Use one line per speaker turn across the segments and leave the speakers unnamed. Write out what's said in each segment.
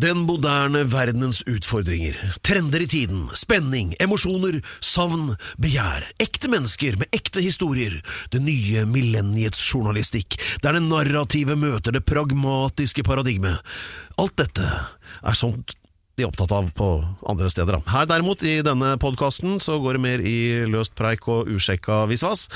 Den moderne verdenens utfordringer, trender i tiden, spenning, emosjoner, savn, begjær, ekte mennesker med ekte historier, det nye millenniets journalistikk, der det narrative møter det pragmatiske paradigmet. Alt dette er sånt de er opptatt av på andre steder. da. Her derimot, i denne podkasten, så går det mer i løst preik og usjekka visvas.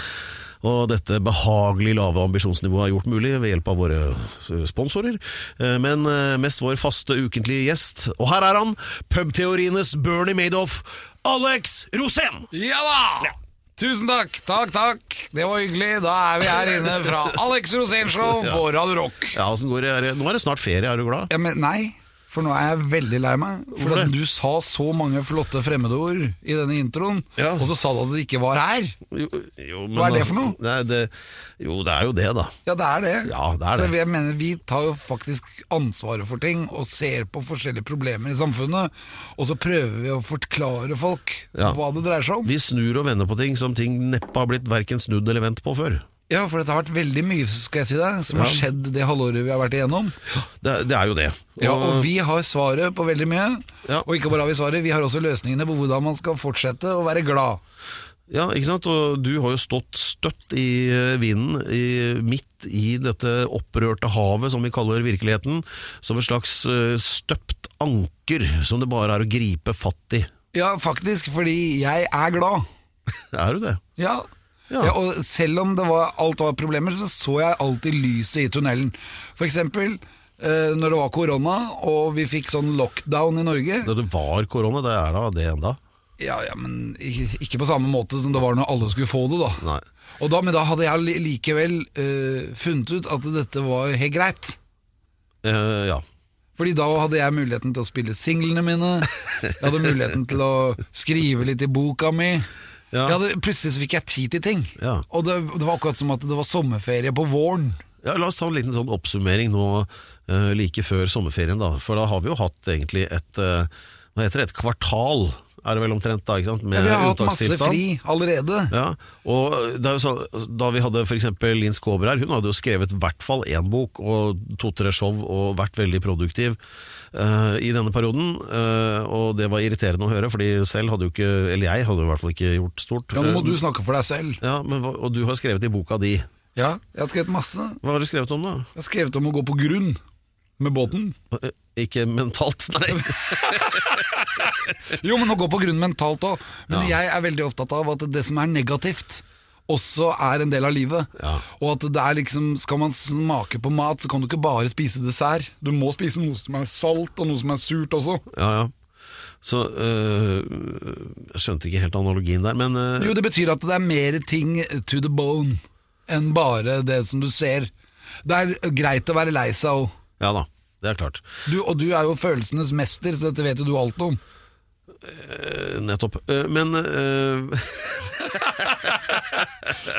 Og dette behagelig lave ambisjonsnivået er gjort mulig ved hjelp av våre sponsorer, Eh, men eh, mest vår faste ukentlige gjest. Og her er han, pubteorienes Bernie Madoff, Alex Rosén!
Ja da! Tusen takk, takk, takk. Det var hyggelig. Da er vi her inne fra Alex Rosén Show på Radio Rock.
Ja, åssen går det? Er det- Nå er det snart ferie, er du glad?
Ja, men nei, for nå er jeg veldig lei meg. For
Hvorfor
at
det?
du sa så mange flotte fremmedord i denne introen,
Ja.
og så sa du at det ikke var her.
Jo, jo, men
Hva er det
altså-
for noe?
Nei, det, jo, det er jo det, da.
Ja, det er det.
Ja, det er det.
Så jeg mener, vi tar jo faktisk ansvaret for ting og ser på forskjellige problemer i samfunnet, og så prøver vi å forklare folk
Ja.
hva det dreier seg om.
Vi snur og vender på ting som ting neppe har blitt verken snudd eller vendt på før.
Ja, for det har vært veldig mye, skal jeg si deg, som har
Ja.
skjedd det halvåret vi har vært igjennom.
Det, det er jo det.
Ja, og vi har svaret på veldig mye.
Ja.
Og ikke bare har vi svaret, vi har også løsningene på hvordan man skal fortsette å være glad.
Ja, ikke sant? Og du har jo stått støtt i eh, vinden, i, midt i dette opprørte havet som vi kaller virkeligheten, som et slags eh, støpt anker som det bare er å gripe fatt i.
Ja, faktisk, fordi jeg er glad.
Er du det?
Ja.
Ja.
Ja. og selv om det var, alt var problemer, så så jeg alltid lyset i tunnelen. For eksempel eh, når det var korona, og vi fikk sånn lockdown i Norge.
Da det var korona, det er da det enda.
Ja, ja, men ikke ikke på samme måte som det var når alle skulle få det, da.
Nei.
Og da men da hadde jeg li- likevel eh, funnet ut at dette var helt greit.
Eh, ja.
Fordi da hadde jeg muligheten til å spille singlene mine, jeg hadde muligheten til å skrive litt i boka mi.
Ja.
Jeg hadde, plutselig så fikk jeg tid til ting.
Ja.
Og det, det var akkurat som at det var sommerferie på våren.
Ja, La oss ta en liten sånn oppsummering nå eh, like før sommerferien, da. For da har vi jo hatt egentlig et eh, Hva heter det? Et kvartal, er det vel omtrent, da? ikke sant? Med
Ja, vi har hatt masse
unntakstilstand.
fri allerede.
Ja, og det er jo sånn, Da vi hadde for eksempel Linn Skåber her, hun hadde jo skrevet i hvert fall én bok og to-tre show og vært veldig produktiv eh, i denne perioden. eh, og det var irriterende å høre, Fordi selv hadde jo ikke, eller jeg hadde jo i hvert fall ikke gjort stort.
Ja, Nå må
Eh,
du snakke for deg selv.
ja, men, hva- Og du har skrevet i boka di.
Ja, Jeg har skrevet masse.
Hva har du skrevet om, da?
Jeg har skrevet om å gå på grunn med båten.
Eh, Ikke mentalt, nei.
Jo, men å gå på grunn mentalt òg. Men
Ja.
jeg er veldig opptatt av at det som er negativt, også er en del av livet.
Ja.
Og at det er liksom Skal man smake på mat, så kan du ikke bare spise dessert. Du må spise noe som er salt, og noe som er surt også.
Ja, ja. Så øh, Jeg skjønte ikke helt analogien der, men øh,
Jo, det betyr at det er mer ting to the bone enn bare det som du ser. Det er greit å være lei seg òg.
Ja da, det er klart.
Du, og du er jo følelsenes mester, så dette vet jo du alt om.
Eh, Nettopp. Eh, Men øh,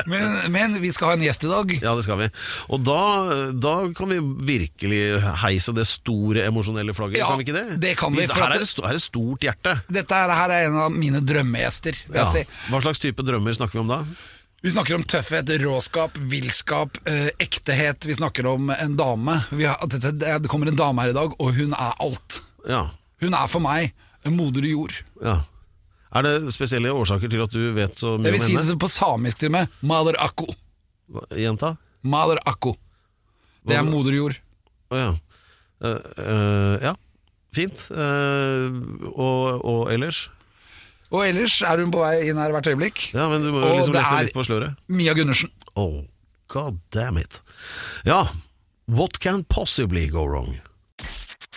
Men, men vi skal ha en gjest i dag.
Ja, det skal vi. Og da, da kan vi virkelig heise det store emosjonelle flagget,
Ja,
kan vi ikke det?
det kan vi,
Hvis-
for
Her
at
er
det-
det, sto- her er det stort hjerte.
Dette her- her er en av mine drømmegjester. vil
Ja.
jeg si.
Hva slags type drømmer snakker vi om da?
Vi snakker om tøffhet, råskap, villskap, eh, ektehet. Vi snakker om en dame. Vi har, at dette, det kommer en dame her i dag, og hun er alt.
Ja,
Hun er for meg en moder jord.
ja. Er det spesielle årsaker til at du vet så mye
Jeg
om
vil si
henne?
det på samisk til og med. Mader akko.
Hva- Jenta?
Mader akko. Det er moder jord.
Å ja. Eh, eh, ja, fint. Eh, og, og ellers?
Og ellers er hun på vei inn her hvert øyeblikk.
Ja, men du må
Og
liksom
det
lette
er-
litt på sløret.
Mia Gundersen.
Oh, god damn it. Ja, what can possibly go wrong?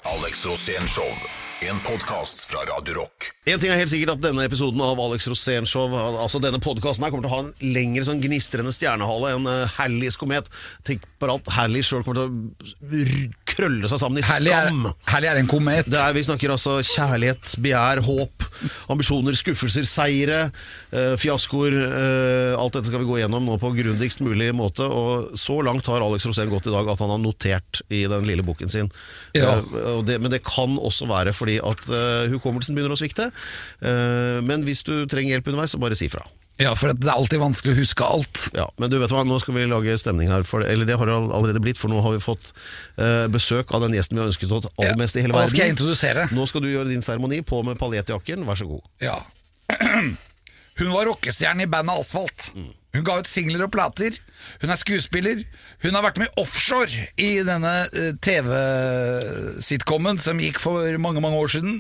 Alex Rosén Show. En podkast fra Radio Rock.
En ting er helt sikkert at denne episoden av Alex Rosén Show, al- altså denne podkasten her, kommer til å ha en lengre sånn gnistrende stjernehale enn uh, Halleys komet. Tenk bare at Halley sjøl kommer til å r- krølle seg sammen i
Herlig er,
skam.
herlig er en komet.
Det er, vi snakker altså kjærlighet, begjær, håp, Ambisjoner, skuffelser, seire, eh, fiaskoer. eh, alt dette skal vi gå gjennom nå på grundigst mulig måte. Og så langt har Alex Rosén gått i dag at han har notert i den lille boken sin.
Ja.
Eh, og det, men det kan også være fordi at eh, hukommelsen begynner å svikte. Eh, men hvis du trenger hjelp underveis, så bare si fra.
Ja, for det er alltid vanskelig å huske alt.
Ja, men du vet hva, nå skal vi lage stemning her for, Eller det har all- allerede blitt, for nå har vi fått eh, besøk av den gjesten vi har ønsket oss aller mest i hele
Ja,
verden
da skal jeg introdusere.
Nå skal du gjøre din seremoni, på med paljettjakken, vær så god
Ja. Hun var rockestjerne i bandet Asfalt. Hun ga ut singler og plater. Hun er skuespiller. Hun har vært med offshore i denne eh, TV-sitcomen som gikk for mange mange år siden.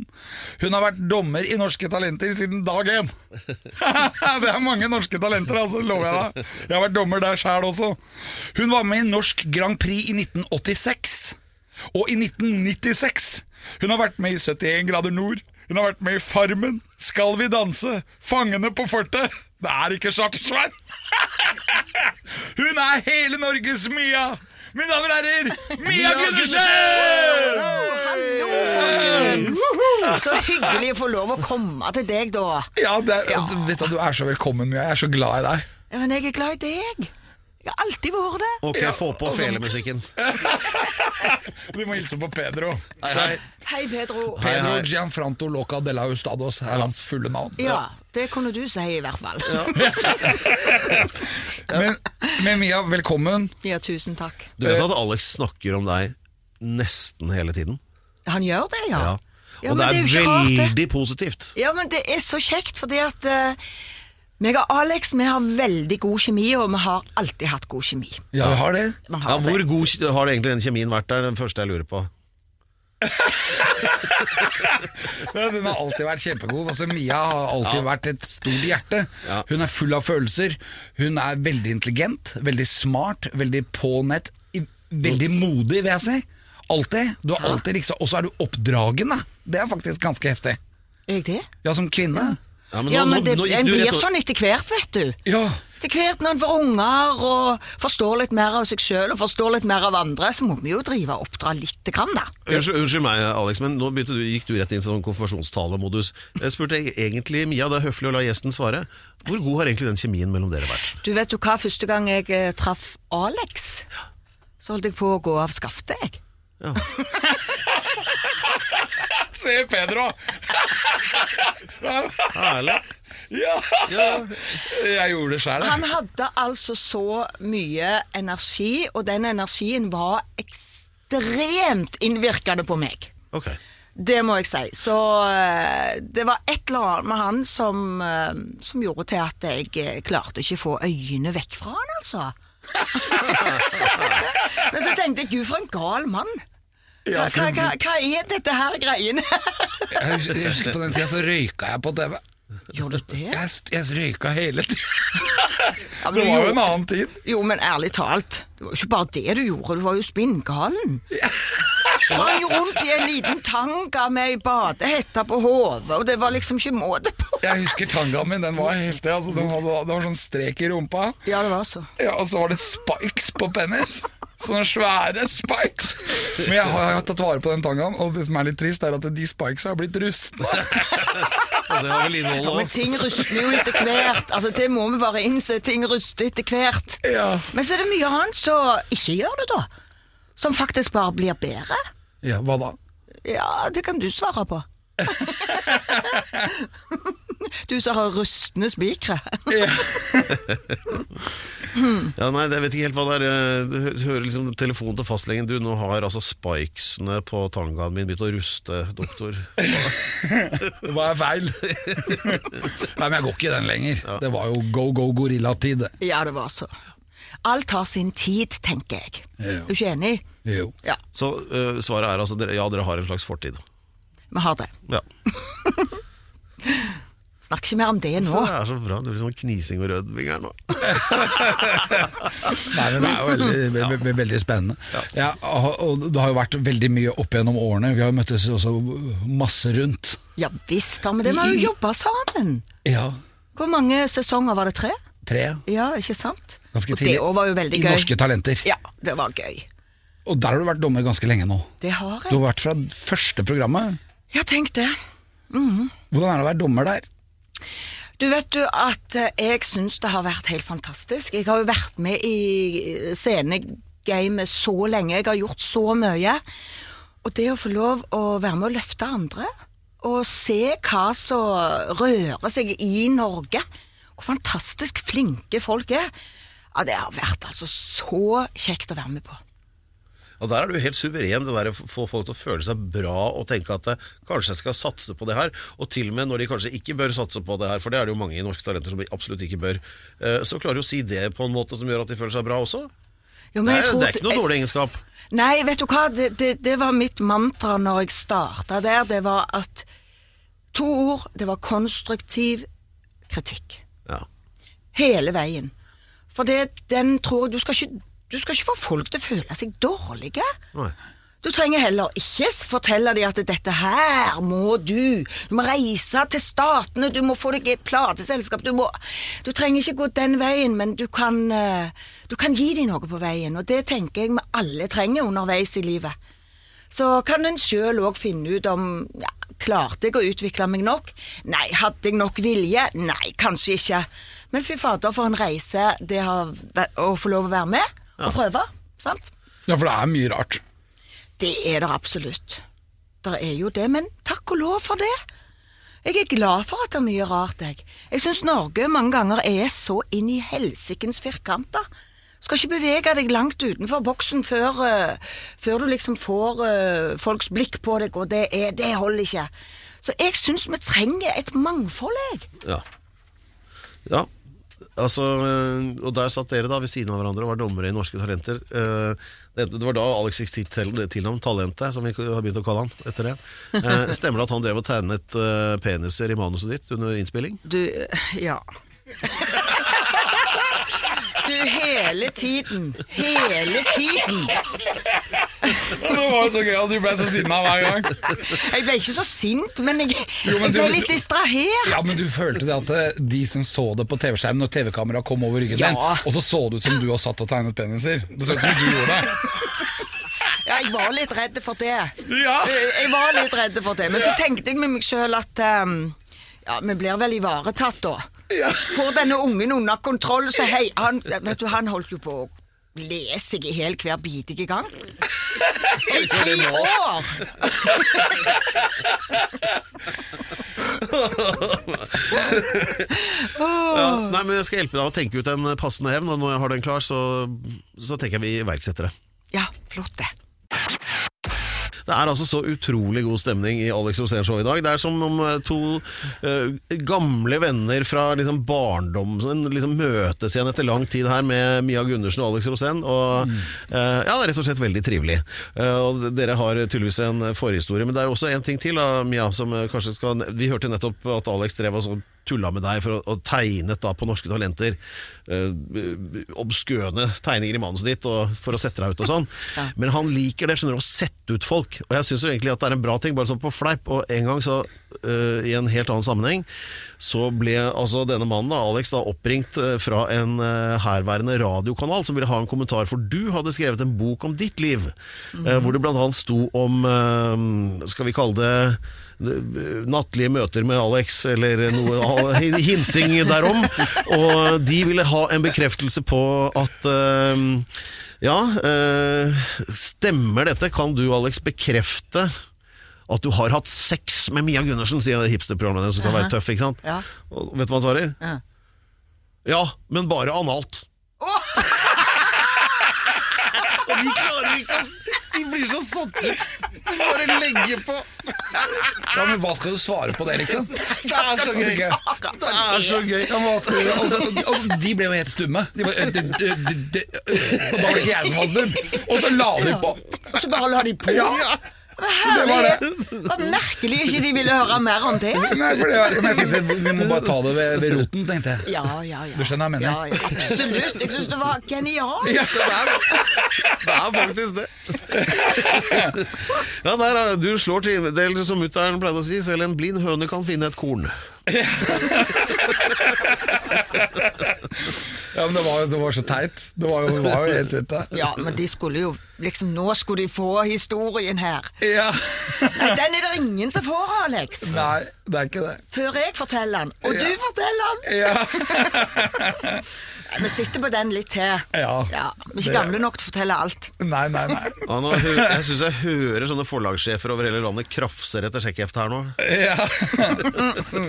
Hun har vært dommer i Norske Talenter siden dag én. det er mange norske talenter, altså, lover jeg deg. Jeg har vært dommer der sjæl også. Hun var med i Norsk Grand Prix i 1986. Og i 1996 Hun har vært med i 71 grader nord Hun har vært med i Farmen Skal vi danse? Fangene på fortet Det er ikke Chartersvein Hun er hele Norges Mia Mine damer og herrer Mia Gundersen
Hallo, folkens! Så hyggelig å få lov å komme til deg, da.
ja, det, er- Vet du, du er så velkommen Mia Jeg er så glad i deg
Ja, Men jeg er glad i deg. Jeg har alltid vært det.
Ok,
Ja,
få på
altså-
felemusikken
Du må hilse på Pedro
Hei, hei
Hei, Pedro.
Pedro
hei.
Gianfranto Loca de la Hustados Er hans fulle navn
Ja, det kunne du si i hvert fall.
men, men Mia, velkommen
Ja, tusen takk.
Du vet at Alex snakker om deg nesten hele tiden
Han gjør det, ja. Ja,
Og
men
det er,
jo ikke rart, det.
veldig positivt
Ja, men det er så kjekt, fordi at eh, meg og Alex vi har veldig god kjemi, og vi har alltid hatt god kjemi.
Ja, vi har det
Vi
ja,
har
Hvor
det.
god har egentlig den kjemien vært der, den første jeg lurer på
Ja, Den har alltid vært kjempegod. Altså, Mia har alltid vært et stort hjerte. Hun er full av følelser. Hun er veldig intelligent, veldig smart, veldig på nett. i- Veldig modig, vil jeg si. Alltid. Du er alltid liksom Og så er du oppdragen, da. Det er faktisk ganske heftig.
Er jeg det?
Ja, som kvinne.
Ja,
Ja,
nå-
men
nå-
det,
nå gikk
en
du rett
blir
og-
sånn etter hvert, vet du.
Ja.
Til hvert når en får unger og forstår litt mer av seg sjøl og forstår litt mer av andre, så må vi jo drive og oppdra lite grann, da.
Unnskyld, unnskyld meg, Alex, men nå begynte du, gikk du rett inn til sånn konfirmasjonstalemodus. Jeg spurte eg- egentlig Mia, det er høflig å la gjesten svare. Hvor god har egentlig den kjemien mellom dere vært?
Du vet jo hva, første gang jeg eh, traff Alex, så holdt jeg på å gå av skaftet, jeg.
Se Pedro!
Herlig.
Ja. Jeg gjorde det sjæl, jeg.
Han hadde altså så mye energi, og den energien var ekstremt innvirkende på meg.
Ok.
Det må jeg si. Så eh, det var et eller annet med han som, eh, som gjorde til at jeg eh, klarte ikke å få øynene vekk fra han, altså. Men så tenkte jeg, gud for en gal mann.
Ja,
Hva,
for-
hva, hva, hva er dette her greiene?
Jeg hus- jeg husker på den tida så røyka jeg på TV.
Gjorde du det?
Jeg, st- jeg røyka hele tida.
Ja,
Det
men du
var jo en
gjorde-
annen tid.
Jo, men ærlig talt, det var jo ikke bare det du gjorde, du var jo spinngalen. Du var jo rundt i en liten tanga med ei badehette på hodet, og det var liksom ikke måte på.
Jeg husker tangaen min, den var heftig. Altså, den hadde, det var sånn strek i rumpa.
Ja, det var så.
Ja, og så var det spikes på penis. Sånne svære spikes. Men jeg har, jeg har tatt vare på den tangaen, og det som er litt trist, er at de spikesa har blitt rustne.
Og det har vel innholdet
Ja, men
òg.
ting rustner jo etter hvert. Altså, det må vi bare innse. Ting ruster etter hvert.
Ja.
Men så er det mye annet som ikke gjør det, da. Som faktisk bare blir bedre.
ja, hva da?
Ja, det kan du svare på. du som har rustne spikere.
Ja, nei, jeg vet ikke helt hva det er. Du hø- hører liksom telefonen til fastlegen. Du, nå har altså spikesene på tangaen min begynt å ruste, doktor.
Hva er feil? Nei, men jeg går ikke i den lenger. Det var jo go go gorilla-tid. det.
Ja, det var så. Alt har sin tid, tenker jeg.
Ja.
Er du ikke enig?
Jo.
Ja,
Så øh, svaret er altså dere- ja, dere har en slags fortid.
vi har det.
Ja.
Snakk ikke mer om det
Så
nå.
det er så bra. Du blir sånn knising og rødving her nå.
Nei, men Det er jo veldig, ve ve ve veldig spennende. Ja, og- og Det har jo vært veldig mye opp gjennom årene. Vi har jo møttes også masse rundt.
Ja visst, da, men det var jo jobba sammen.
Ja,
Hvor mange sesonger var det? Tre?
tre.
Ja, ikke sant?
Ganske
Og
tidlig.
Det òg var jo veldig
I
gøy.
Norske Talenter.
Ja, det var gøy.
Og der har du vært dommer ganske lenge nå.
Det har
Du
jeg.
har vært fra første programmet.
Ja, tenk det.
Hvordan er det å være dommer der?
Du vet jo at eh, jeg syns det har vært helt fantastisk. Jeg har jo vært med i eh, scenegamet så lenge, jeg har gjort så mye. Og det å få lov å være med å løfte andre, og se hva som rører seg i Norge, hvor fantastisk flinke folk er, ja, det har vært altså så kjekt å være med på.
Og der er du helt suveren, det der å få folk til å føle seg bra og tenke at eh, kanskje jeg skal satse på det her, og til og med når de kanskje ikke bør satse på det her, for det er det jo mange i Norske Talenter som absolutt ikke bør, eh, så klarer du å si det på en måte som gjør at de føler seg bra også.
Jo,
Det
men jeg
er,
tror
det er ikke noe
jeg-
dårlig egenskap.
Nei, vet du hva, det, det, det var mitt mantra når jeg starta der. Det var at To ord. Det var konstruktiv kritikk.
Ja.
Hele veien. For det, den tror jeg du skal, ikke, du skal ikke få folk til å føle seg dårlige.
Nei.
Du trenger heller ikke s- fortelle dem at dette her må du. Du må reise til statene, du må få deg et plateselskap. Du, må, du trenger ikke gå den veien, men du kan, eh, du kan gi dem noe på veien. Og det tenker jeg vi alle trenger underveis i livet. Så kan en sjøl òg finne ut om ja, Klarte jeg å utvikle meg nok? Nei. Hadde jeg nok vilje? Nei, kanskje ikke. Men fy fader, for en reise det har væ- å få lov å være med og prøve. Sant?
Ja, for det er mye rart.
Det er det absolutt. Det er jo det, men takk og lov for det. Jeg er glad for at det er mye rart, jeg. Jeg syns Norge mange ganger er så inn i helsikens firkanter. Skal ikke bevege deg langt utenfor boksen før, eh, før du liksom får eh, folks blikk på deg, og det, er, det holder ikke. Så jeg syns vi trenger et mangfold, jeg.
Ja. ja. Altså, eh, og der satt dere da ved siden av hverandre og var dommere i Norske Talenter. Eh, Det det var da Alex fikk sitt tel- tilnavn, Talentet, som vi har begynt å kalle han etter det. Eh, Stemmer det at han drev og tegnet eh, peniser i manuset ditt under innspilling?
Du eh, Ja. Du, hele tiden. Hele tiden.
Det var jo så gøy at du ble så sinna hver gang.
Jeg ble ikke så sint, men jeg,
men
jeg ble
du-
litt distrahert.
Ja, men du følte det at eh, de som så det på TV-skjermen når TV-kameraet kom over ryggen
Ja.
din, og så så det ut som du har satt og tegnet peniser. Det så ut som du gjorde det.
Ja, jeg var litt redd for det.
Ja.
Jeg jeg var litt redd for det. Men så tenkte jeg med meg sjøl at ehm, ja, vi blir vel ivaretatt da. Får denne ungen under kontroll, så hei han, Vet du, han holdt jo på å le seg i hjel hver bidige gang. I tre år!
Ja, nei, men Jeg skal hjelpe deg å tenke ut en passende hevn, og når jeg har den klar, så, så tenker jeg vi iverksetter det.
Ja, flott det.
Det er altså så utrolig god stemning i Alex Rosén Show i dag. Det er som om eh, to eh, gamle venner fra liksom, barndommen liksom, møtes igjen etter lang tid her med Mia Gundersen og Alex Rosén. Og, eh, ja, det er rett og slett veldig trivelig. Eh, og dere har tydeligvis en forhistorie, men det er også en ting til, da, Mia. Som, eh, kanskje skal, vi hørte nettopp at Alex drev og så tulla med deg for å, og tegnet da på Norske Talenter eh, obskøne tegninger i manuset ditt og, for å sette deg ut og sånn. Men han liker det, skjønner du, å sette ut folk. Og jeg syns egentlig at det er en bra ting, bare sånn på fleip. Og en gang, så eh, i en helt annen sammenheng, så ble altså denne mannen, da, Alex, da oppringt eh, fra en eh, herværende radiokanal som ville ha en kommentar, for du hadde skrevet en bok om ditt liv, eh, hvor det blant annet sto om, eh, skal vi kalle det nattlige møter med Alex, eller noe hinting derom. Og de ville ha en bekreftelse på at eh, Ja, eh, stemmer dette? Kan du, Alex, bekrefte at du har hatt sex med Mia Gundersen, sier hipsterprogrammet hennes, som kan være tøff, ikke sant?
Ja.
Og vet du hva han svarer? Ja, men bare analt. Og de klarer ikke å De blir så satt ut. De bare legger på.
Ja, men hva skal du svare på det, liksom? Det er så gøy.
Det er så gøy.
Ja, men hva skal du, og, så, og de ble jo helt stumme. De bare, øh, d- d- d- d- øh, og da var det ikke jeg som var stum. Og så la de på.
Og så bare la de på.
Det var det.
Det var merkelig ikke de ville høre mer om det.
Nei, for det, var- men jeg tenkte, vi må bare ta det ved, ved roten, tenkte jeg.
Ja, ja, ja.
Du skjønner hva jeg mener?
Ja, ja, absolutt. Jeg syns det var genialt.
Ja.
Det er faktisk det. ja, der, er- du slår til. Det er liksom som mutter'n pleide å si, selv en blind høne kan finne et korn.
Ja, men det var, det var så teit. Det var jo, det var jo helt teit, det.
Ja, men de skulle jo liksom Nå skulle de få historien her.
Ja.
Nei, den er det ingen som får, Alex.
Nei, det er ikke det.
Før jeg forteller den. Og du forteller den!
Ja.
Vi sitter på den litt til.
Ja.
Vi er ikke
Det-
gamle nok til å fortelle alt.
Nei, nei, nei.
Ja, nå, hø- jeg syns jeg hører sånne forlagssjefer over hele landet krafser etter sjekkheftet her nå.
Ja.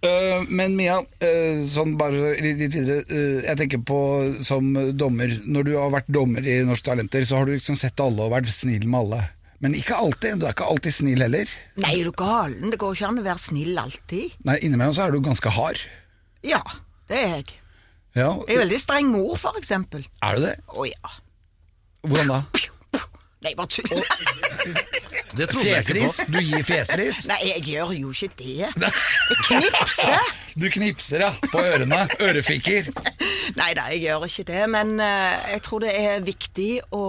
Eh, men Mia, eh, sånn bare litt litt videre. eh, jeg tenker på som dommer. Når du har vært dommer i Norske Talenter, så har du liksom sett alle og vært snill med alle. Men ikke alltid. Du er ikke alltid snill heller.
Nei, er du galen? Det går ikke an å være snill alltid.
Nei, Innimellom så er du ganske hard.
Ja, det er jeg.
Ja,
Jeg er veldig streng mor, for eksempel.
Er du det?
Å ja.
Hvordan da?
Nei, bare tull.
Det trodde jeg ikke
Fjesris?
på.
Du gir fjesris?
Nei, jeg gjør jo ikke det. Jeg knipser.
Du knipser, ja. På ørene. Ørefikker.
Nei da, jeg gjør ikke det, men eh, jeg tror det er viktig å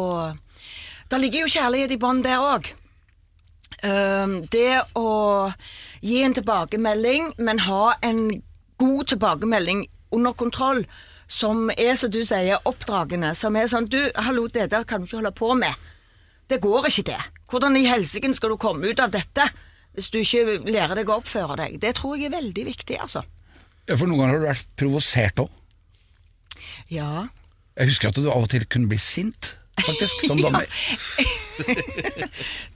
Der ligger jo kjærlighet i bånn der òg. det å gi en tilbakemelding, men ha en god tilbakemelding under kontroll, som er, som du sier, oppdragende. Som er sånn Du, hallo, det der kan du ikke holde på med. Det går ikke, det. Hvordan i helsike skal du komme ut av dette hvis du ikke lærer deg å oppføre deg? Det tror jeg er veldig viktig, altså.
Ja, For noen ganger har du vært provosert òg.
Ja.
Jeg husker at du av og til kunne bli sint, faktisk, som dommer.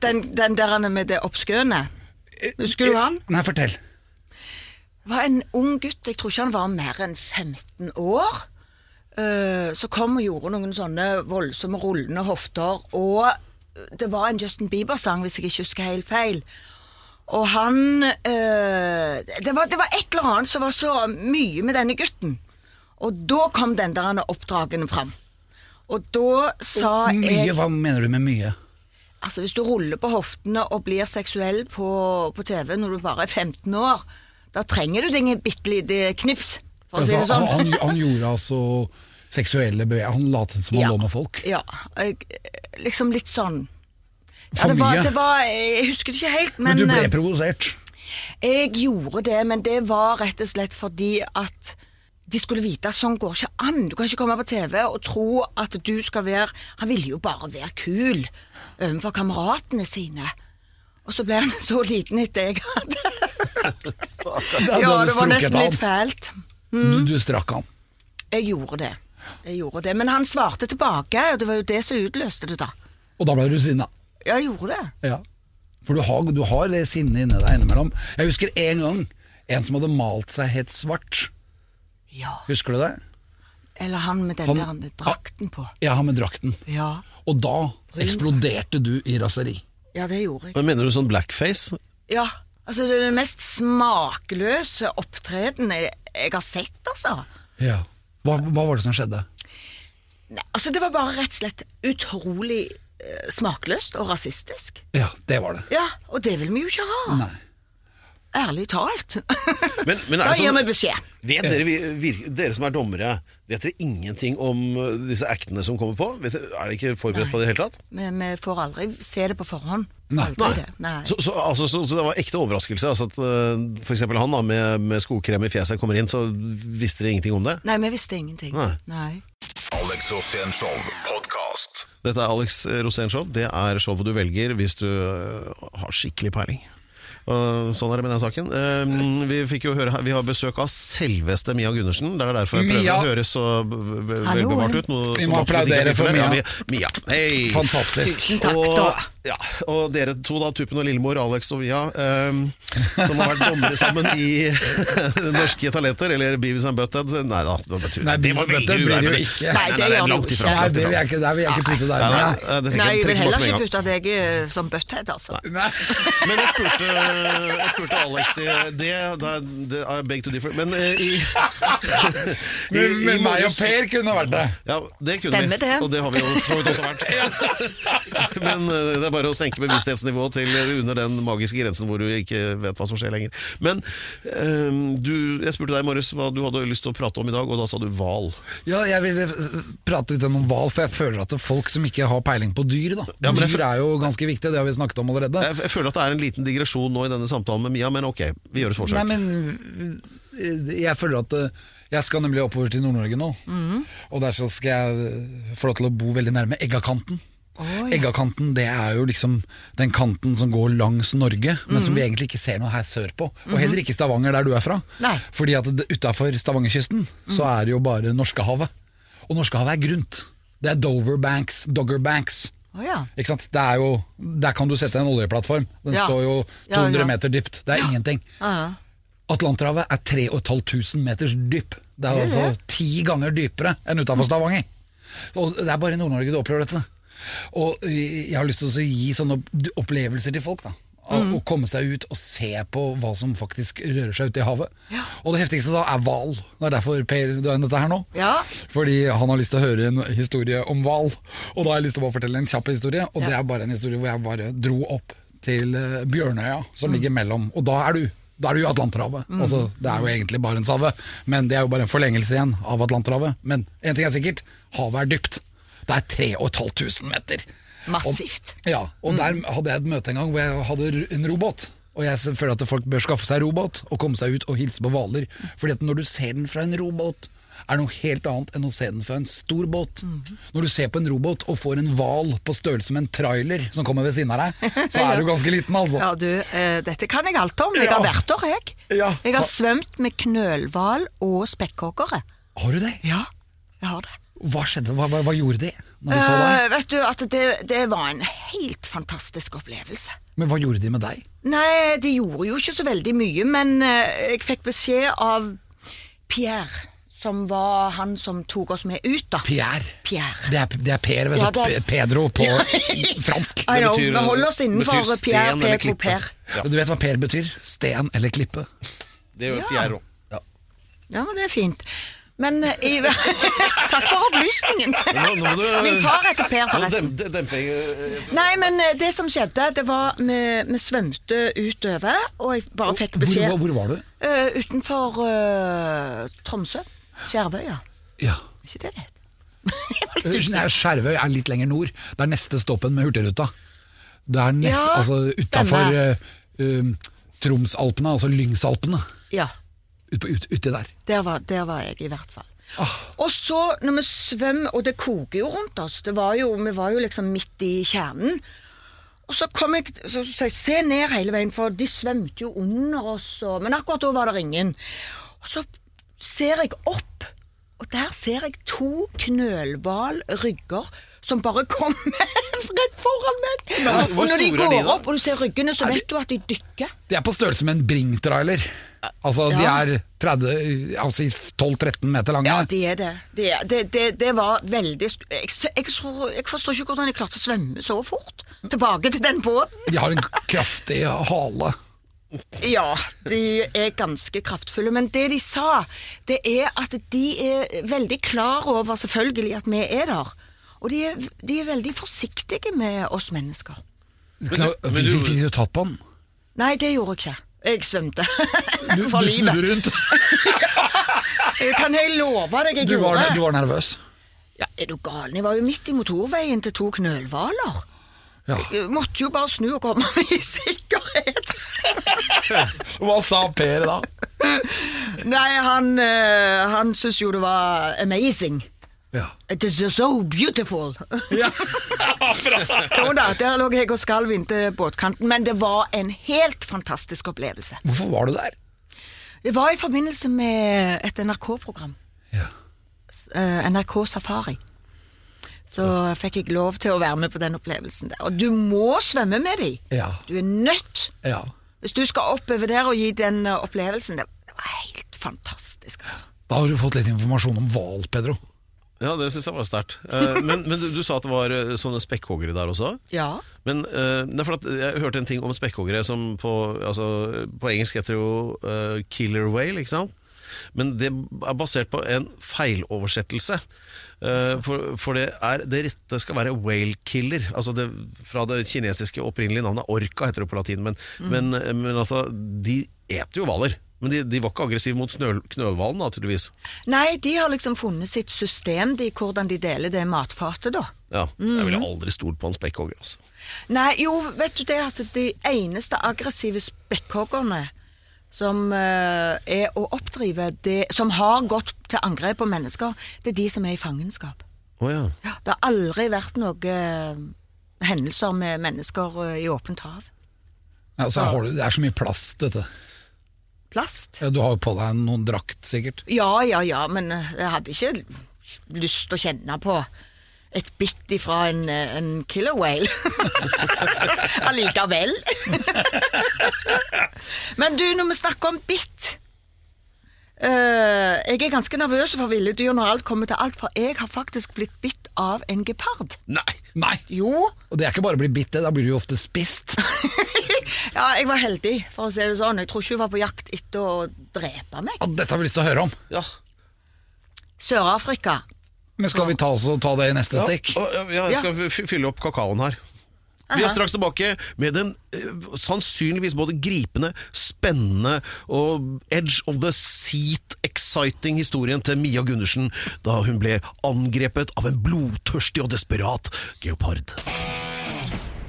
Den, den der med det oppskøene. Husker du han?
Nei, fortell.
Det var en ung gutt, jeg tror ikke han var mer enn 15 år. eh, som kom og gjorde noen sånne voldsomme rullende hofter. Og det var en Justin Bieber-sang, hvis jeg ikke husker helt feil. Og han eh, det, var, det var et eller annet som var så mye med denne gutten. Og da kom den der han oppdragende fram. Og da sa jeg
Mye, hva mener du med mye?
Altså Hvis du ruller på hoftene og blir seksuell på, på TV når du bare er 15 år, da trenger du deg et bitte lite knips, for å si
Altså,
det
han,
sånn.
han, han gjorde altså seksuelle bevegelser. Han latet som han lå med folk.
Ja, jeg, liksom litt sånn. Ja,
For
det var,
mye.
det var, jeg husker det ikke helt, men,
Men du ble
eh,
provosert.
jeg gjorde det. Men det var rett og slett fordi at de skulle vite at sånn går ikke an. Du kan ikke komme på TV og tro at du skal være Han ville jo bare være kul overfor kameratene sine. Og så ble han så liten etter jeg hadde
Da- da
Ja,
hadde
det var
strukket
nesten litt
han.
Mm. fælt.
Du, du strakk han.
Jeg gjorde det. Jeg gjorde det. Men han svarte tilbake, og det var jo det som utløste det, da.
Og da ble du sinna.
Jeg gjorde det.
Ja. For du har, du har det sinnet inni deg innimellom. Jeg husker en gang en som hadde malt seg helt svart.
Ja.
Husker du det?
Eller han med den
Han-
der drakten på.
Ja, han med drakten.
Ja.
Og da eksploderte du i raseri.
ja, det gjorde jeg.
Men Mener du sånn blackface?
Ja. Altså, det er den mest smakløse opptredenen jeg, jeg har sett, altså.
Ja. Hva, hva var det som skjedde?
Nei, altså, det var bare rett og slett utrolig eh, smakløst og rasistisk.
Ja, det var det.
Ja, og det vil vi jo ikke ha.
Nei.
Ærlig talt.
Men, men er
da
det
gir
sånn,
vi beskjed.
vet dere, vi- vir- dere som er dommere, vet dere ingenting om uh, disse actene som kommer på? Vet dere, er dere ikke forberedt på det i det hele tatt?
Vi, vi får aldri se det på forhånd.
Nei.
Aldri det. Nei.
Så, så, altså, så, så det var ekte overraskelse? Altså at uh, for eksempel han da med, med skokrem i fjeset kommer inn, så visste dere ingenting om det?
Nei, vi visste ingenting.
Nei.
Alex Rosénshow podkast.
Dette er Alex Rosénshow. Det er showet du velger hvis du øh, har skikkelig peiling. Og sånn er det med den saken. Ehm, Vi fikk jo høre her, vi har besøk av selveste Mia Gundersen. Det er derfor jeg prøver
Mia!
å høres så v- v-
Hallo.
velbevart ut. noe
Vi
som
må
absolutt ikke er
applaudere for
tilfellet. Ja,
Mia.
Mia, hei!
Fantastisk.
Tusen takk,
og,
da.
Ja, og dere to, da, Tuppen og Lillemor, Alex og Mia, ehm, som har vært dommere sammen i Norske Talenter, eller Beavis and Butthead. Nei da, det var bare tull.
Nei, Beavis
Det var
and Butthead
veldig
blir det jo
uærlig.
ikke.
Nei, det gjør det
langt ifra, langt
Nei,
ikke.
ifra.
det vil jeg ikke, der vil jeg ikke putte deg
Nei, nei,
med.
det trekker-
Nei,
trekker
jeg vil
bort
heller
med en
ikke
gang.
putte deg eh, som butthead, altså.
Nei.
Men jeg spurte, jeg spurte Alex i det, da, det I beg to differ Men eh, i, i,
Men,
i
men meg og
morges-
Per kunne vært det.
ja, det kunne
Stemmer
vi,
det.
og det har vi jo for så vidt også vært. Men eh, det er bare å senke bevissthetsnivået til eh, under den magiske grensen hvor du ikke vet hva som skjer lenger. Men eh, du, jeg spurte deg i morges hva du hadde lyst til å prate om i dag, og da sa du hval.
Ja, jeg ville eh, prate litt om hval, for jeg føler at det er folk som ikke har peiling på dyr, da.
Ja, men det-
dyr er jo ganske viktig, det har vi snakket om allerede.
Jeg, jeg føler at det er en liten digresjon nå i denne samtalen med Mia, men ok, vi gjør et forsøk.
Nei, men eh, jeg føler at eh, jeg skal nemlig oppover til Nord-Norge nå.
Mhm.
Og der så skal jeg eh, få lov til å bo veldig nærme Eggakanten. Eggakanten det er jo liksom den kanten som går langs Norge, men
Mhm.
som vi egentlig ikke ser noe her sørpå. Og heller ikke Stavanger, der du er fra.
Nei. Mhm.
Fordi at det- utafor Stavangerkysten så er det jo bare Norskehavet. Og Norskehavet er grunt. Det er Dover Banks, Dogger Banks.
Å ja.
Ikke sant? Det er jo, der kan du sette en oljeplattform. Den
Ja.
står jo
Ja,
200
ja.
meter dypt. Det er ingenting.
Ja.
Atlanterhavet er 3500 meters dyp. Det er
Det er
altså ti ganger dypere enn utenfor Stavanger. Og det er bare i Nord-Norge du opplever dette. Og eh, jeg har lyst til å gi sånne opp- opplevelser til folk. da Å å komme seg ut og se på hva som faktisk rører seg ute i havet. Og det heftigste da er hval. Det er derfor Per drar inn dette her nå.
Ja.
Fordi han har lyst til å høre en historie om hval. Og da har jeg lyst til å bare fortelle en kjapp historie, og det er bare en historie hvor jeg bare dro opp til eh, Bjørnøya,
Mm.
som ligger mellom. Og da er du da er du i Atlanterhavet. Altså, det er jo egentlig Barentshavet, men det er jo bare en forlengelse igjen av Atlanterhavet. Men én ting er sikkert, havet er dypt. Det er 3500 meter.
Massivt.
Og, ja, og
Mm.
der hadde jeg et møte en gang hvor jeg hadde r- en robåt. Og jeg føler at folk bør skaffe seg robåt og komme seg ut og hilse på hvaler. Fordi at når du ser den fra en robåt, er noe helt annet enn å se den fra en stor båt.
Mhm.
Når du ser på en robåt og får en hval på størrelse med en trailer som kommer ved siden av deg, så er du ganske liten, altså.
Ja, du, eh, dette kan jeg alt om. Jeg
Ja.
har vært der, jeg.
Ja.
Jeg har
Ha-
svømt med knølhval og spekkhoggere.
Har du det?
Ja, jeg har det.
Hva skjedde? Hva, hva, hva gjorde det når de så deg?
Eh, vet du at det, det var en helt fantastisk opplevelse.
Men hva gjorde de med deg?
Nei, de gjorde jo ikke så veldig mye, men eh, jeg fikk beskjed av Pierre, som var han som tok oss med ut, da.
Pierre.
Pierre.
Det er, det er Per, vet du.
Ja, det er-
Pe- Pedro på fransk.
I know,
betyr-
vi holder oss
det
innenfor
betyr sten
Pierre,
eller
Pedro,
klippe.
Per.
Du vet hva Per betyr? Sten eller klippe.
Det gjør
Ja.
Pierre òg.
Ja, men det er fint. Men eh, i, Takk for opplysningen.
Nå- nå må du-
Min far heter Per, forresten.
Dem, dem- dempe, eh,
Nei, men eh, det som skjedde, det var vi, vi svømte utover, og jeg bare fikk
Hvor,
beskjed
hvor- hvor var du?
Eh, Utenfor eh, Tromsø. Skjervøya.
Ja.
Er ikke det det heter?
Nei, Skjervøy er litt lenger nord. Det er neste stoppen med Hurtigruta. Det er nest,
Ja,
altså utafor
stemmer.
Tromsalpene, altså Lyngsalpene.
Ja.
Ut, på- ut, uti der.
Der var, der var jeg i hvert fall.
Ah.
Og så når vi svømmer, og det koker jo rundt oss, det var jo, vi var jo liksom midt i kjernen. Og så kom jeg så sa jeg, se ned hele veien, for de svømte jo under oss, og, men akkurat da var det ingen. Og så ser jeg opp, og der ser jeg to knølhvalrygger som bare kommer rett foran meg.
hvor
Og når de
store er
går
de da?
opp, og du ser ryggene, så vet du at de dykker.
De er på størrelse med en Bring-trailer. Altså,
Ja.
de er 30, altså, i 12-13 meter lange.
Ja, det er det. Det, er- det, det, det var veldig sk- jeg, s- jeg, tror, jeg forstår ikke hvordan jeg klarte å svømme så fort tilbake til den båten.
De har en kraftig hale.
Ja, de er ganske kraftfulle. Men det de sa, det er at de er veldig klar over, selvfølgelig, at vi er der. Og de er, de er veldig forsiktige med oss mennesker.
Kna-
men
Fikk
du-
fikk du tatt på den?
Nei, det gjorde jeg ikke. Jeg svømte
Du,
for
du snudde
livet.
rundt.
Kan jeg love deg, jeg
Du var,
gjorde
du var nervøs.
Ja, er du galen? Jeg var jo midt i motorveien til to knølhvaler.
Ja.
Jeg Eh, måtte jo bare snu og komme meg i sikkerhet.
Hva sa Per da?
Nei, han, eh, han syntes jo det var amazing.
Ja.
It is so beautiful. Jo da, der lå jeg og skalv inntil båtkanten, men det var en helt fantastisk opplevelse.
Hvorfor var du der?
Det var i forbindelse med et NRK-program. eh, NRK Safari. Så fikk jeg lov til å være med på den opplevelsen der. Og du må svømme med dem!
Ja.
Du er nødt.
Ja.
Hvis du skal oppover der og gi den eh, opplevelsen Det det var helt fantastisk. altså.
Da har du fått litt informasjon om hval, Pedro.
Ja, det syns jeg var sterkt. Eh, Men, men du, du sa at det var eh, sånne spekkhoggere der også?
Ja.
Men eh, det er for at jeg hørte en ting om spekkhoggere som på, altså, på engelsk heter det jo eh, killer whale, ikke sant? men det er basert på en feiloversettelse. Eh, for, for det, er, det rette skal være whale killer. Altså det, fra det kinesiske opprinnelige navnet orca, heter det på latin. Men, men, men altså, de eter jo hvaler. Men de, de var ikke aggressive mot knøl, knølhvalen, da, tydeligvis.
Nei, de har liksom funnet sitt system, de, hvordan de deler det matfatet, da.
Ja, Jeg ville aldri stolt på en spekkhogger. Altså.
Nei, jo, vet du det at de eneste aggressive spekkhoggerne som eh, er å oppdrive, det, som har gått til angrep på mennesker, det er de som er i fangenskap.
Å ja.
Det har aldri vært noen hendelser med mennesker eh, i åpent hav.
Ja, så Altså, har du, det er så mye plast, dette.
Plast.
Ja, Du har jo på deg noen drakt, sikkert.
Ja, ja, ja, men eh, jeg hadde ikke lyst til å kjenne på et bitt ifra en, eh, en killer whale. Allikevel. men du, når vi snakker om bitt eh, Jeg er ganske nervøs for ville dyr når alt kommer til alt, for jeg har faktisk blitt bitt av en gepard.
Nei!
Nei!
Jo,
Og det er ikke bare å bli bitt, det. Da blir du jo ofte spist.
ja, jeg var heldig, for å si det sånn. Jeg tror ikke hun var på jakt etter å drepe meg.
Ja, dette har vi lyst til å høre om.
Ja.
Sør-Afrika.
Men skal vi ta, oss og ta det i neste stikk?
Å, ja, ja, jeg skal fy- fylle opp kakaoen her. Vi er straks tilbake med den eh, sannsynligvis både gripende, spennende og edge of the seat-exciting historien til Mia Gundersen da hun ble angrepet av en blodtørstig og desperat geopard.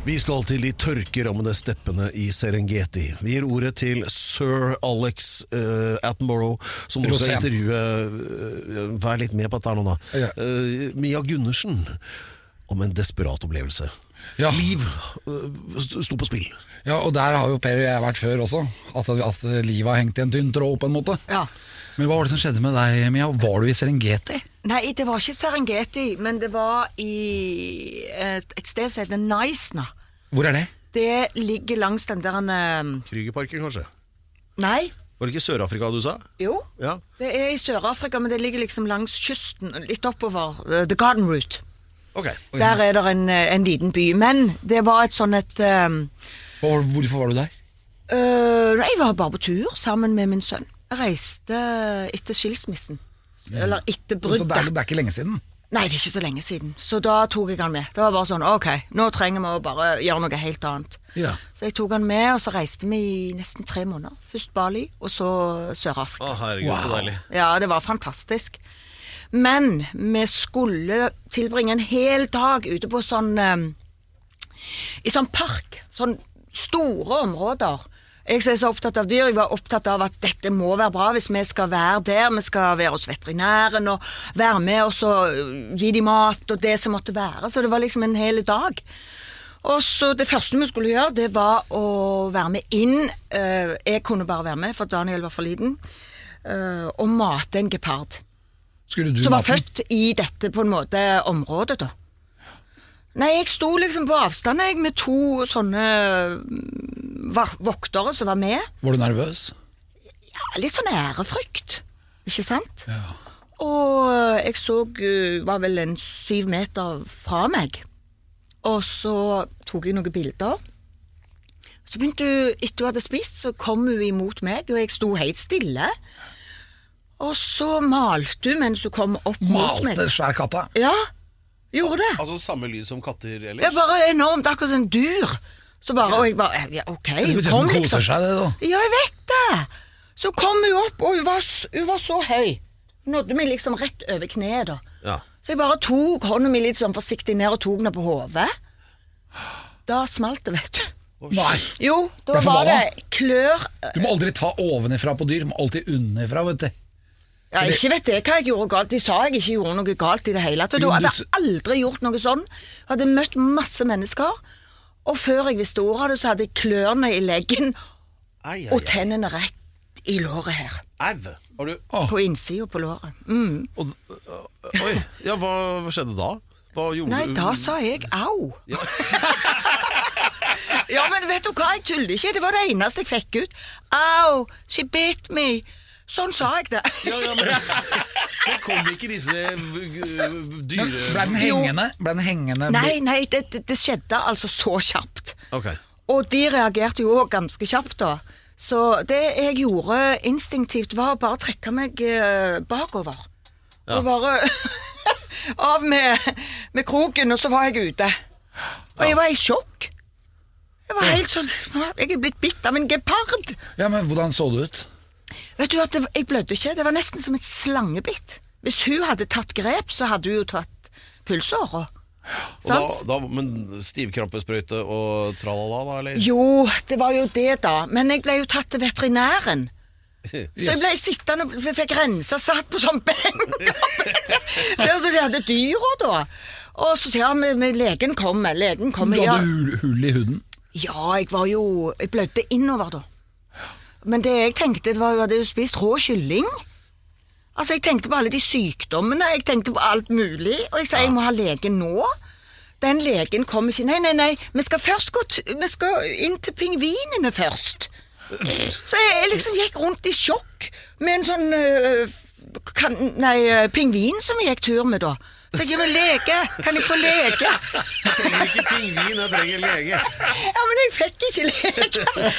Vi skal til de tørkerammede steppene i Serengeti. Vi gir ordet til sir Alex eh, Attenborough, som nå skal
Rosén.
intervjue eh, Vær litt med på dette her nå, da.
Ja.
Eh, Mia Gundersen om en desperat opplevelse.
Ja.
Liv eh, st- sto på spill.
Ja, og der har jo Per og jeg vært før også. At, at livet har hengt i en tynn tråd, på en måte.
Ja.
Men hva var det som skjedde med deg, Mia? Var du i Serengeti?
Nei, det var ikke Serengeti, men det var i eh, et, et sted som heter Naisna.
Hvor er det?
Det ligger langs den der eh,
Krügerparken, kanskje?
Nei,
Var det ikke Sør-Afrika du sa?
jo.
Ja.
Det er i Sør-Afrika, men det ligger liksom langs kysten, litt oppover. eh, The Garden Route.
Ok.
Der er det en, eh, en liten by. Men det var et sånn et eh,
Hva var- Hvorfor var du der?
øh, Nei, jeg var bare på tur sammen med min sønn. Jeg reiste etter skilsmissen. Eller etter
Så Altså, det, er,
bruddet.
det er ikke lenge siden.
Nei, det er ikke så lenge siden. Så da tok jeg han med. Det var bare sånn, ok, nå trenger vi å bare gjøre noe helt annet.
Ja.
Så jeg tok han med, og så reiste vi i nesten tre måneder. Først Bali, og så Sør-Afrika.
Å, herregud, så deilig.
Ja, det var fantastisk. Men vi skulle tilbringe en hel dag ute på sånn eh, I sånn park. Sånn store områder. Jeg som er så opptatt av dyr, jeg var opptatt av at dette må være bra hvis vi skal være der. Vi skal være hos veterinæren og være med og så eh, gi dem mat og det som måtte være. Så det var liksom en hel dag. Og så Det første vi skulle gjøre, det var å være med inn. eh, Jeg kunne bare være med, for Daniel var for liten. eh, Og mate en gepard.
Skulle du
Som var
maten?
født i dette på en måte området, da. Nei, jeg sto liksom på avstand jeg, med to sånne mm, va- voktere som var med.
Var du nervøs?
Ja, litt sånn ærefrykt, ikke sant? Og jeg så eh, var vel en syv meter fra meg. Og så tok jeg noen bilder. Så begynte hun, etter hun hadde spist, så kom hun imot meg, og jeg sto helt stille. Og så malte hun mens hun kom opp mot meg.
Malte svær katta?
Ja, gjorde det.
Altså samme lyd som katter
Jeg
ellers?
bare enormt, akkurat som en dur. Så bare, og jeg bare, altså- ja, ok,
Det
hun
betyr
kom
at den
liksom.
koser seg, det, da.
Ja, jeg vet det! Så kom hun opp, og hun var, s- hun var så høy. Hun nådde meg liksom rett over kneet, da.
Ja.
Så jeg bare tok hånda mi litt sånn forsiktig ned og tok den på hodet. Da smalt det, vet du.
Nei.
Jo, da
Ble
var
forbanna?
det klør
Du må aldri ta ovenifra på dyr, du må alltid underifra, vet du.
Ja, ikke vet jeg hva jeg gjorde galt. De sa jeg ikke gjorde noe galt i det hele tatt. Og
Jo,
da
men
hadde
du-
jeg aldri gjort noe sånn. Jeg hadde møtt masse mennesker, og før jeg visste ordet av det, så hadde jeg klørne i leggen
Ei, ei,
og tennene rett i låret her.
Au! Har du
Ah.
På innsida på låret. Mm.
og, eh, Oi. Ja, hva skjedde da? Hva gjorde
Nei,
du?
da sa jeg au. ja, men vet du hva, jeg tuller ikke. Det var det eneste jeg fikk ut. Au, she bit me. Sånn sa jeg det.
ja, ja, men, men kom ikke disse øh,
Ble
dyre...
den hengende? Ble den hengende?
nei, nei, det, det- det skjedde altså så kjapt.
Ok.
Og de reagerte jo òg ganske kjapt, da. Så det jeg gjorde instinktivt, var å bare trekke meg eh, bakover. Og bare av med, med kroken, og så var jeg ute. Og jeg var i sjokk. Jeg var helt sånn Jeg er blitt bitt av en gepard.
Ja, men hvordan så det ut?
Vet du at det, Jeg blødde ikke. Det var nesten som et slangebitt. Hvis hun hadde tatt grep, så hadde hun jo tatt pulsåra.
Og da, da, men stivkrampesprøyte og tralala, da? Eller?
Jo, det var jo det, da. Men jeg ble jo tatt til veterinæren. Så jeg ble sittende og f- fikk rensa, satt på sånn benk. det er så de hadde dyra, da. Og så sier han, men legen kommer, legen
Du
kommer.
hadde
Ja,
hull, hull i huden.
ja jeg var jo Jeg blødde innover, da. Men det jeg tenkte, det var jo at jeg hadde jo spist rå kylling. Altså, jeg tenkte på alle de sykdommene, jeg tenkte på alt mulig. Og jeg sa, jeg må ha legen nå. Den legen kom og sier, nei, nei, nei, vi skal først gå t vi skal inn til pingvinene først. Så jeg, jeg liksom gikk rundt i sjokk med en sånn øh, kan, Nei, øh, pingvin som jeg gikk tur med, da. Så jeg gikk med lege. Kan jeg få lege?
Jeg trenger ikke pingvin, jeg trenger lege.
Ja, men jeg fikk ikke lege.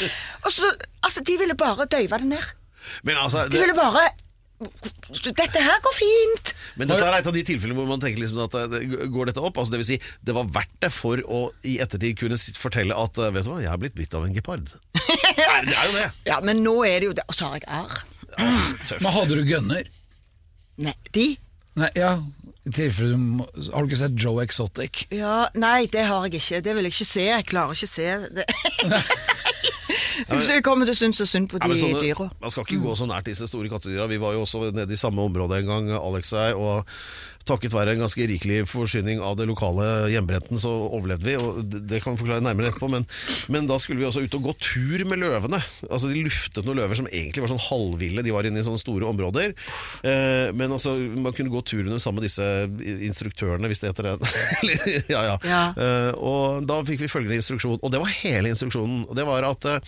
Og så, altså, de ville bare døyve det ned.
Men, altså,
De
det,
ville bare Dette her går fint.
men dette er et av de tilfellene hvor man tenker liksom at eh, det- går dette opp? Altså, det vil si, det var verdt det for å i ettertid kunne si- fortelle at eh, vet du hva, jeg er blitt bitt av en gepard. Nei, det er jo det.
Ja, men nå er det jo det. Og så har jeg arr.
Men hadde du gønner?
Nei, de?
Nei, ja i tilfelle du må, Har du ikke sett Joe Exotic?
Ja, nei, det har jeg ikke. Det vil jeg ikke se. Jeg klarer ikke å se det. Så jeg kommer til å synes så synd på
Ja,
de
men sånne-
dyra. Mm.
Man skal ikke gå så nært disse store kattedyra. Vi var jo også nede i samme område en gang, Alex og jeg. Og takket være en ganske rikelig forsyning av det lokale hjemmebrenten, så overlevde vi. Og det det kan vi forklare nærmere etterpå, men, men da skulle vi også ut og gå tur med løvene. Altså De luftet noen løver som egentlig var sånn halvville. De var inne i sånne store områder. Eh, men altså, man kunne gå tur under sammen med disse instruktørene, hvis det heter det. Eller- ja, ja.
Ja.
Eh, og da fikk vi følgende instruksjon, og det var hele instruksjonen. Og det var at eh,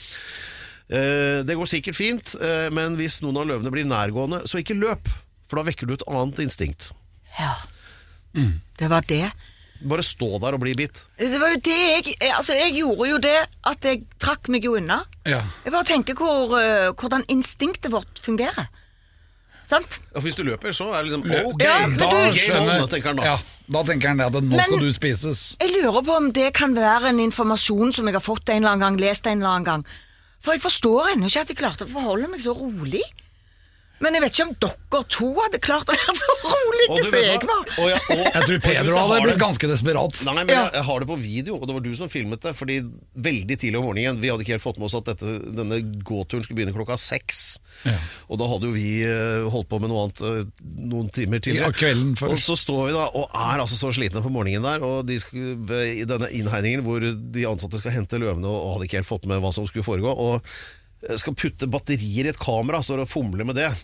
Eh, det går sikkert fint, eh, men hvis noen av løvene blir nærgående, så ikke løp. For da vekker du et annet instinkt.
Ja.
Mm.
Det var det.
Bare stå der og bli bitt.
Det var jo det jeg Altså, jeg gjorde jo det at jeg trakk meg jo unna.
Ja.
Jeg bare tenker hvor, eh, hvordan instinktet vårt fungerer. Sant?
Ja, for hvis du løper, så er det liksom ok,
Ja, men
da,
du-
game on, tenker han da.
ja, da tenker han det at nå
Men-
skal du spises.
Jeg lurer på om det kan være en informasjon som jeg har fått en eller annen gang, lest en eller annen gang. For jeg forstår ennå ikke at jeg klarte å forholde meg så rolig. Men jeg vet ikke om dere to hadde klart å være så
Og
rolige
du
som
vet
jeg
hva?
var.
Og ja, og-
Jeg
og
tror
hvis
Pedro
har
hadde
det-
blitt ganske desperat.
Nei, men jeg, jeg har det på video, og det var du som filmet det. Fordi veldig tidlig om morgenen Vi hadde ikke helt fått med oss at dette, denne gåturen skulle begynne klokka seks. Og da hadde jo vi eh, holdt på med noe annet eh, noen timer tidligere.
Ja, kvelden før.
Og så står vi da og er altså så slitne på morgenen der, og de skulle, ved- i denne innhegningen hvor de ansatte skal hente løvene, og hadde ikke helt fått med hva som skulle foregå. Og eh, skal putte batterier i et kamera, så fomler med det.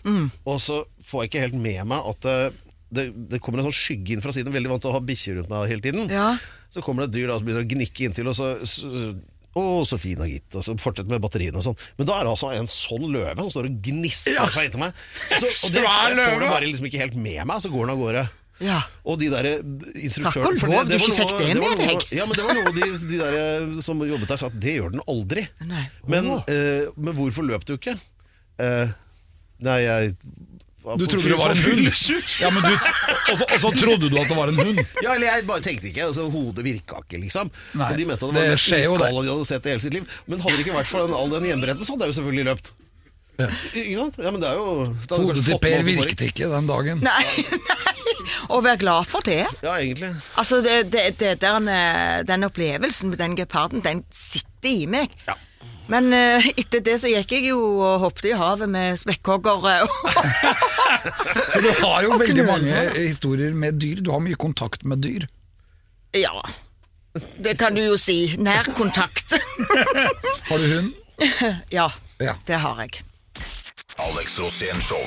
Og så får jeg ikke helt med meg at eh, det, det kommer en sånn skygge inn fra siden. Veldig vant til å ha bikkjer rundt meg hele tiden.
Ja.
Så kommer det et dyr da, som begynner å gnikke inntil, og så, så å, så fin og gitt, og så fortsetter med batteriene og sånn. Men da er det altså en sånn løve som står og gnisser seg inntil meg. Så, og det
Svær
jeg får
løve.
det bare liksom ikke helt med meg, så går den av gårde.
Ja.
Og de der eh, instruktørene
Takk og
for
lov du
var
ikke fikk det
var
med
noe-
deg.
Ja, men det var noe de, de der eh, som jobbet der sa at det gjør den aldri.
Nei.
Men,
Åh.
eh, men hvorfor løp du ikke? Eh, nei, jeg var
Du
på
trodde
fyll-
det var en
på
hund.
fyllesyk.
Ja, men du, og, så, og så trodde du at det var en hund.
Ja, eller jeg bare tenkte ikke, altså hodet virka ikke, liksom.
Nei,
så de mente at det
det
var det
skjer jo, det.
skala de hadde sett i hele sitt liv. Men hadde det ikke vært for den, all den hjemmebrenten, så hadde jeg jo selvfølgelig løpt. Ikke sant? Ja, men det er jo det hadde
Hodet
kanskje
til
fått
Per
masse for-
virket ikke den dagen.
Nei, nei. Og vær glad for det.
Ja, egentlig.
Altså, det, det, det der, eh, den opplevelsen med den geparden, den sitter i meg.
Ja.
Men eh, etter det så gikk jeg jo og hoppet i havet med eh, spekkhoggere.
Så du har jo veldig mange historier med dyr. Du har mye kontakt med dyr.
ja, det kan du jo si. Nærkontakt.
Har du hund?
ja,
Ja.
det har jeg.
Alex Rosén Show.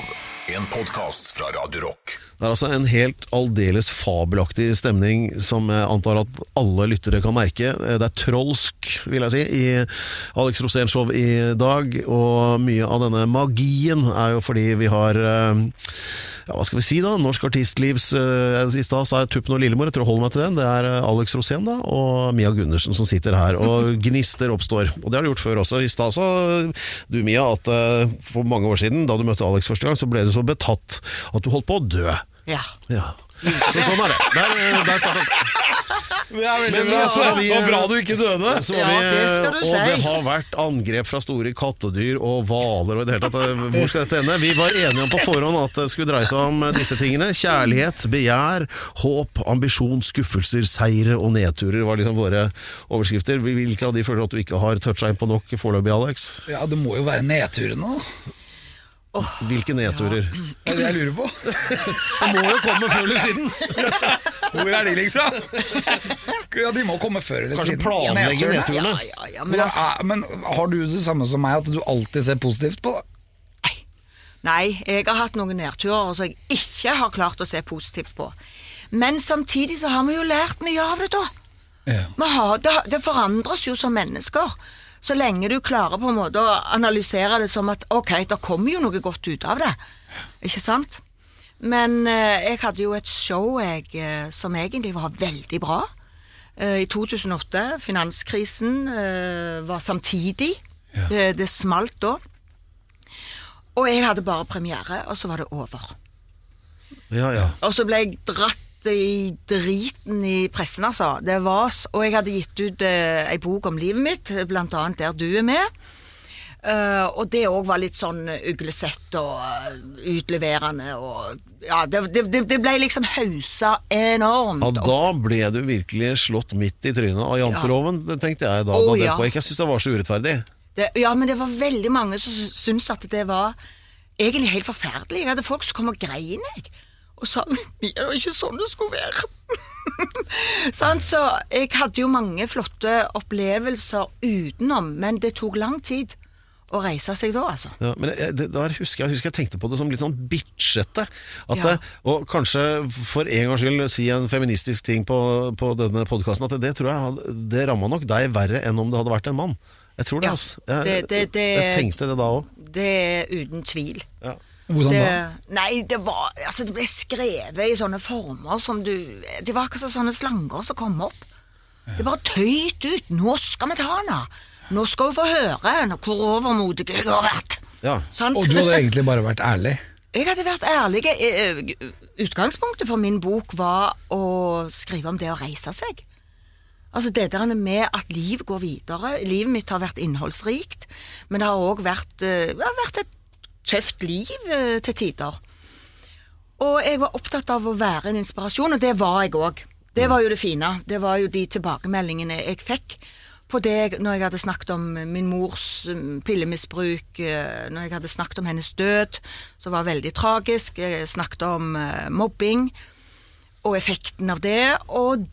En podkast fra Radio Rock.
Det er altså en helt aldeles fabelaktig stemning som jeg antar at alle lyttere kan merke. Det er trolsk, vil jeg si, i Alex Rosén Show i dag. Og mye av denne magien er jo fordi vi har eh, ja, hva skal vi si da, norsk artistlivs eh, I stad sa jeg Tuppen og Lillemor, jeg tror jeg holder meg til den. Det er eh, Alex Rosén da, og Mia Gundersen som sitter her, og gnister oppstår. Og det har de gjort før også. I stad sa du, Mia, at eh, for mange år siden, da du møtte Alex første gang, så ble du så betatt at du holdt på å dø.
Ja.
Ja. Så sånn er det. Der, eh, der startet
Men bra,
så er vi,
og bra du ikke døde!
Så
Ja,
var vi,
det skal du
og
si.
det har vært angrep fra store kattedyr og hvaler og i det hele tatt. Hvor skal dette ende? Vi var enige om på forhånd at det skulle dreie seg om disse tingene. Kjærlighet, begjær, håp, ambisjon, skuffelser, seire og nedturer var liksom våre overskrifter. Hvilke av de føler du at du ikke har toucha inn på nok foreløpig, Alex?
Ja, Det må jo være nedturene, da.
Hvilke nedturer?
Det er det jeg lurer på.
Det må jo komme før eller siden!
Hvor er de, liksom? Ja, De må komme før eller
Kanskje
siden.
planlegge
Nedturene.
Ja,
nedturene?
ja, ja,
Men,
men altså,
er, men har du det samme som meg, at du alltid ser positivt på det?
nei, jeg har hatt noen nedturer som jeg ikke har klart å se positivt på. Men samtidig så har vi jo lært mye av det, da.
Ja.
Vi har, det, det forandres jo som mennesker. Så lenge du klarer på en måte å analysere det som at ok, det kommer jo noe godt ut av det. Ikke sant? Men eh, jeg hadde jo et show jeg, eh, som egentlig var veldig bra. Eh, I 2008. Finanskrisen eh, var samtidig. Eh, det smalt da. Og jeg hadde bare premiere, og så var det over.
Ja, ja.
Og så ble jeg dratt i driten i pressen, altså. Det var, s- og jeg hadde gitt ut eh, ei bok om livet mitt, blant annet der du er med. Eh, og det òg var litt sånn uglesett og eh, utleverende og Ja, det, det, det- det ble liksom hausa enormt.
Ja,
opp.
da ble du virkelig slått midt i trynet av janteloven, det tenkte jeg da.
Å,
da det
ja.
pågikk. Jeg syns det var så urettferdig.
Det, ja, men det var veldig mange som sy- syntes at det var egentlig helt forferdelig. Jeg hadde folk som kom og grein, jeg. Og sa «Mia, det var ikke sånn det skulle være. Sant, så jeg hadde jo mange flotte opplevelser utenom, men det tok lang tid å reise seg da, altså.
Ja, men jeg, det, der husker jeg, jeg husker jeg tenkte på det som litt sånn bitchete. At
Ja.
det, og kanskje for en gangs skyld si en feministisk ting på, på denne podkasten, at det, det tror jeg hadde- det ramma nok deg verre enn om det hadde vært en mann. Jeg tror det,
Ja,
ass. Jeg,
det- det- det-
jeg tenkte det da òg.
Det er uten tvil.
Ja.
Hvordan Sånn da?
det, nei, det var Altså, det ble skrevet i sånne former som du Det var akkurat som sånne slanger som kom opp. Det bare tøyt ut. 'Nå skal vi ta henne! Nå skal hun få høre henne hvor overmodig jeg har vært!'
Ja.
Sant?
Og du hadde egentlig bare vært ærlig.
Jeg hadde vært ærlig. Eh, eh, Utgangspunktet for min bok var å skrive om det å reise seg. Altså det der med at liv går videre. Livet mitt har vært innholdsrikt, men det har òg vært, eh, det har vært et tøft liv eh, til tider. Og jeg var opptatt av å være en inspirasjon, og det var jeg òg. Det var jo det fine. Det var jo de tilbakemeldingene jeg fikk på det jeg- når jeg hadde snakket om min mors um, pillemisbruk, eh, når jeg hadde snakket om hennes død, som var veldig tragisk, jeg snakket om eh, mobbing og effekten av det, og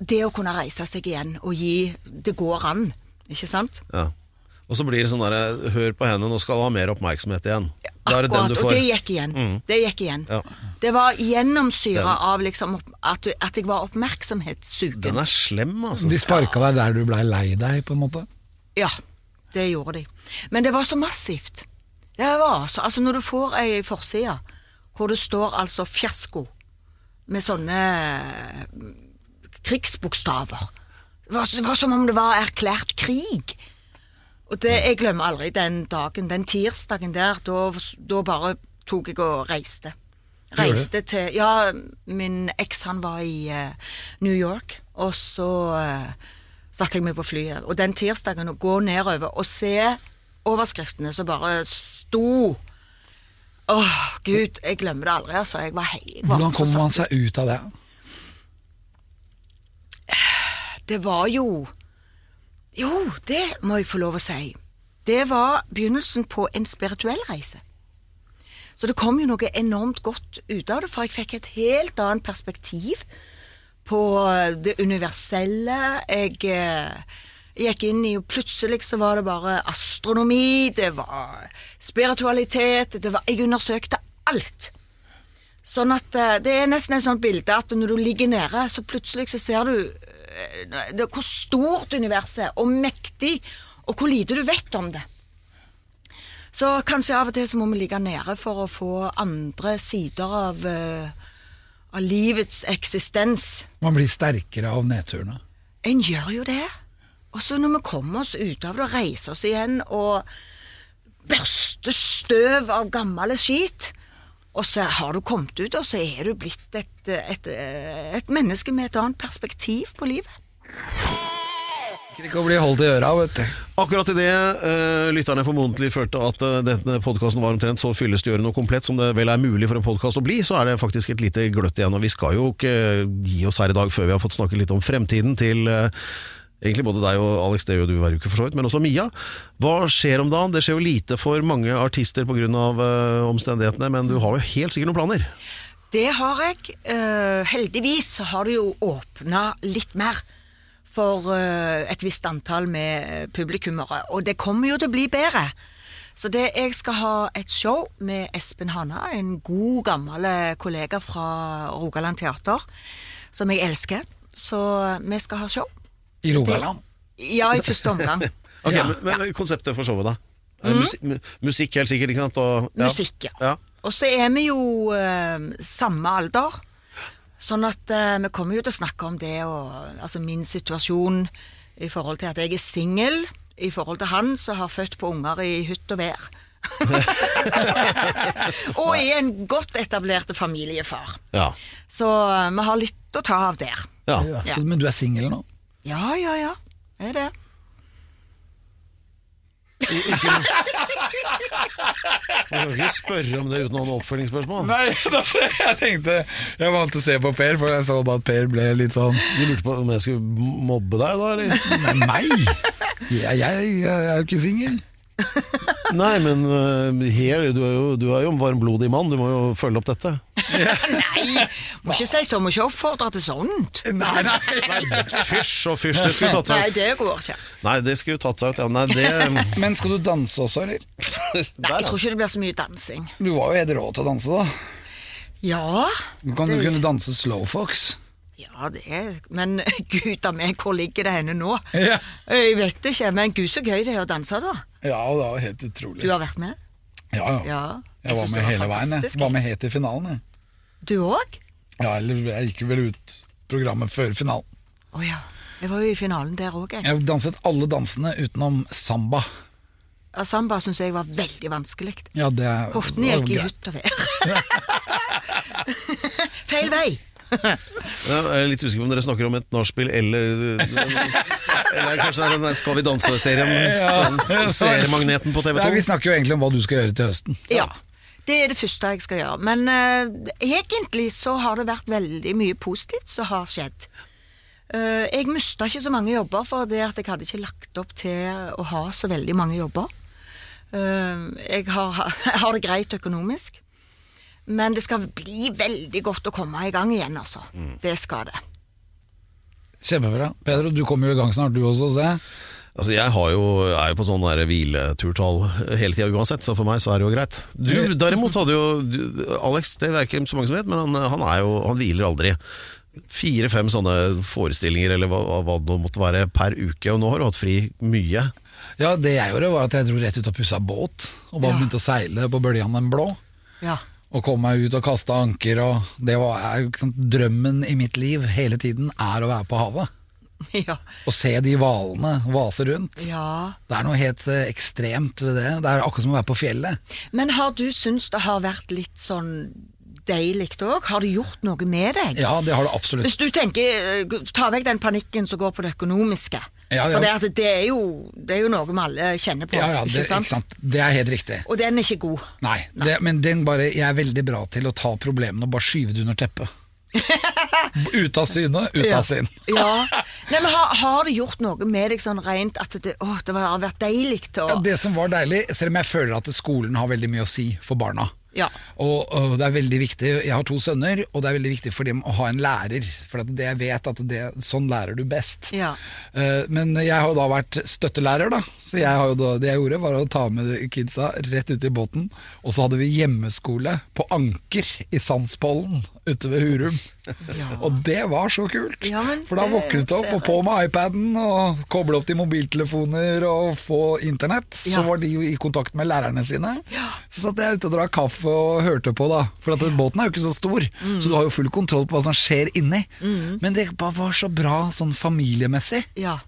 det å kunne reise seg igjen og gi Det går an, ikke sant?
Ja. Og så blir det sånn derre Hør på henne, nå skal du ha mer oppmerksomhet igjen. Da er det den
Akkurat,
du
og
får. Mm.
det gikk igjen. Det gikk igjen.
Ja.
Det var gjennomsyra av liksom opp, at, du- at jeg var oppmerksomhetssugen.
Den er slem, altså.
De sparka deg der du blei lei deg, på en måte.
Ja, det gjorde de. Men det var så massivt. Det var så, altså Når du får ei forside hvor det står altså 'fiasko' med sånne mm, krigsbokstaver det var, det var som om det var erklært krig. Og det, Jeg glemmer aldri den dagen, den tirsdagen der. Da, da bare tok jeg og reiste. Reiste til Ja, min eks han var i eh, New York, og så eh, satte jeg meg på flyet. Og den tirsdagen å gå nedover og se overskriftene som bare sto Åh, gud, jeg glemmer det aldri, altså. Jeg var hei. jeg var
Hvordan
så
kommer
satt-
man seg ut av det?
Det var jo Jo, det må jeg få lov å si. Det var begynnelsen på en spirituell reise. Så det kom jo noe enormt godt ut av det, for jeg fikk et helt annet perspektiv på det universelle. Jeg eh, gikk inn i og Plutselig så var det bare astronomi, det var spiritualitet, det var Jeg undersøkte alt. Sånn at eh, Det er nesten et sånt bilde at når du ligger nede, så plutselig så ser du eh, det, hvor stort universet er, og mektig, og hvor lite du vet om det. Så kanskje av og til så må vi ligge nede for å få andre sider av, eh, av livets eksistens.
Man blir sterkere av nedturene.
En gjør jo det. Og så når vi kommer oss ut av det og reiser oss igjen og børster støv av gammel skit, og så har du kommet ut, og så er du blitt et, et, et menneske med et annet perspektiv på livet.
Liker ikke å bli holdt i øra, vet du.
Akkurat idet uh, lytterne formodentlig følte at eh, denne podkasten var omtrent så fyllestgjørende og komplett som det vel er mulig for en podkast å bli, så er det faktisk et lite gløtt igjen. Og vi skal jo ikke gi oss her i dag før vi har fått snakket litt om fremtiden til eh, Egentlig både deg og Alex, det gjør du hver uke for så vidt, men også Mia. Hva skjer om dagen? Det skjer jo lite for mange artister pga. Uh, omstendighetene, men du har jo helt sikkert noen planer.
Det har jeg. Eh, heldigvis så har det jo åpna litt mer for eh, et visst antall med eh, publikummere, og det kommer jo til å bli bedre. Så det, jeg skal ha et show med Espen Hanna, en god gammel eh, kollega fra Rogaland Teater, som jeg elsker. Så eh, vi skal ha show.
I Rogaland.
Ja, i første omgang.
Ok, men, men konseptet for showet, da? Er det musi- mu- musikk, helt sikkert, ikke sant? Og, ja.
Mm. Musikk, ja.
ja.
Og så er vi jo eh, samme alder, sånn at eh, vi kommer jo til å snakke om det og altså min situasjon i forhold til at jeg er singel, i forhold til han som har født på unger i hytt og vær. og er en godt etablert familiefar.
Ja.
Så eh, vi har litt å ta av der.
ja.
Ja. Så, men du er singel nå?
Ja, ja, ja. Det er det.
Man kan ikke spørre om det uten å ha noe oppfølgingsspørsmål.
Nei, det var det jeg tenkte Jeg valgte å se på Per, for jeg så bare at Per ble litt sånn
Du lurte på om jeg skulle mobbe deg, da? Eller?
Nei, meg? Jeg, jeg, jeg er jo ikke singel.
Nei, men eh, her, du er jo, du er jo en varmblodig mann, du må jo følge opp dette.
Nei, må ikke si sånn, må ikke oppfordre til sånt.
Nei, nei.
Fysj og fysj, det skulle tatt
Nei,
seg ut.
det går ikke.
Nei, det skulle tatt seg ut, ja. Nei, det
Men skal du danse også, eller?
Nei, jeg tror ikke det blir så mye dansing.
Du var jo helt rå til å danse, da.
Ja,
Du kan jo kunne danse slowfox.
Ja, det er Men gud a meg, hvor ligger det henne nå?
Ja.
Jeg vet ikke, men gud så gøy det er å danse, da.
Ja, det var helt
Du
utrolig.
har vært med?
Ja, ja.
Ja.
Jeg var
synes
med
det
hele veien, jeg.
fantastisk.
Var med helt til finalen, jeg.
Du òg?
Ja, eller jeg gikk jo vel ut programmet før finalen.
Å ja. Jeg var jo i finalen der òg, jeg.
Jeg danset alle dansene utenom samba.
Ja, Samba syns jeg var veldig vanskelig.
Ja, det er
Hoftene gikk i hytt og vær. Feil vei.
Jeg er litt usikker på om dere snakker om et nachspiel eller Eller kanskje det er den der Skal vi danse-serien? den Seriemagneten på TV 2?
Nei, vi snakker jo egentlig om hva du skal gjøre til høsten.
Ja. Det er det første jeg skal gjøre. Men eh, egentlig så har det vært veldig mye positivt som har skjedd. Eh, jeg mista ikke så mange jobber, for det at jeg hadde ikke lagt opp til å ha så veldig mange jobber. Eh, jeg har, har det greit økonomisk, men det skal bli veldig godt å komme i gang igjen, altså. Det skal det.
Kjempebra. Pedro, du kommer jo i gang snart, du også. Se.
Altså Jeg har jo, er jo på sånn der hvileturtall hele tida uansett, så for meg så er det jo greit. Du derimot hadde jo du, Alex, det er ikke så mange som vet, men han, han, er jo, han hviler aldri. Fire-fem sånne forestillinger eller hva, hva det nå måtte være per uke, og nå har du hatt fri mye.
Ja, Det jeg gjorde, var at jeg dro rett ut og pussa båt, og bare
Ja.
begynte å seile på bøljan den blå.
Ja.
Og kom meg ut og kasta anker, og det var er jo ikke sant, Drømmen i mitt liv hele tiden er å være på havet.
ja.
Og se de hvalene vase rundt.
Ja.
Det er noe helt eh, ekstremt ved det. Det er akkurat som å være på fjellet.
Men har du syntes det har vært litt sånn deilig òg? Har det gjort noe med deg?
Ja, det har du absolutt.
Hvis du tenker, eh, ta vekk den panikken som går på det økonomiske.
Ja, ja.
For det, altså, det, er jo, det er jo noe vi alle kjenner på,
Ja, ja, det,
ikke, sant?
ikke sant? det er helt riktig.
Og den er ikke god.
Nei, det, men den bare, jeg er veldig bra til å ta problemene og bare skyve det under teppet. ut av syne, ut av sinn.
Ja. Nei, men har, har det gjort noe med deg sånn rent at det, å, det har vært deilig til å
Ja, det som var deilig, selv om jeg føler at skolen har veldig mye å si for barna.
Ja.
Og, og det er veldig viktig, Jeg har to sønner, og det er veldig viktig for dem å ha en lærer. For at det jeg vet at det, sånn lærer du best.
Ja.
Eh, Men jeg har jo da vært støttelærer, da. Så jeg har jo da, det jeg gjorde, var å ta med kidsa rett ut i båten. Og så hadde vi hjemmeskole på anker i Sandspollen ute ved Hurum. Og det var så kult!
Ja, men
For da
det
våknet du opp
ser
og på med iPaden og koble opp til mobiltelefoner og få internett. Så
Ja.
var de jo i kontakt med lærerne sine. Så satt jeg ute og drakk kaffe og hørte på, da. For at båten er jo ikke så stor,
Mm.
så du har jo full kontroll på hva som skjer inni. Men det bare var så bra sånn familiemessig.
Ja.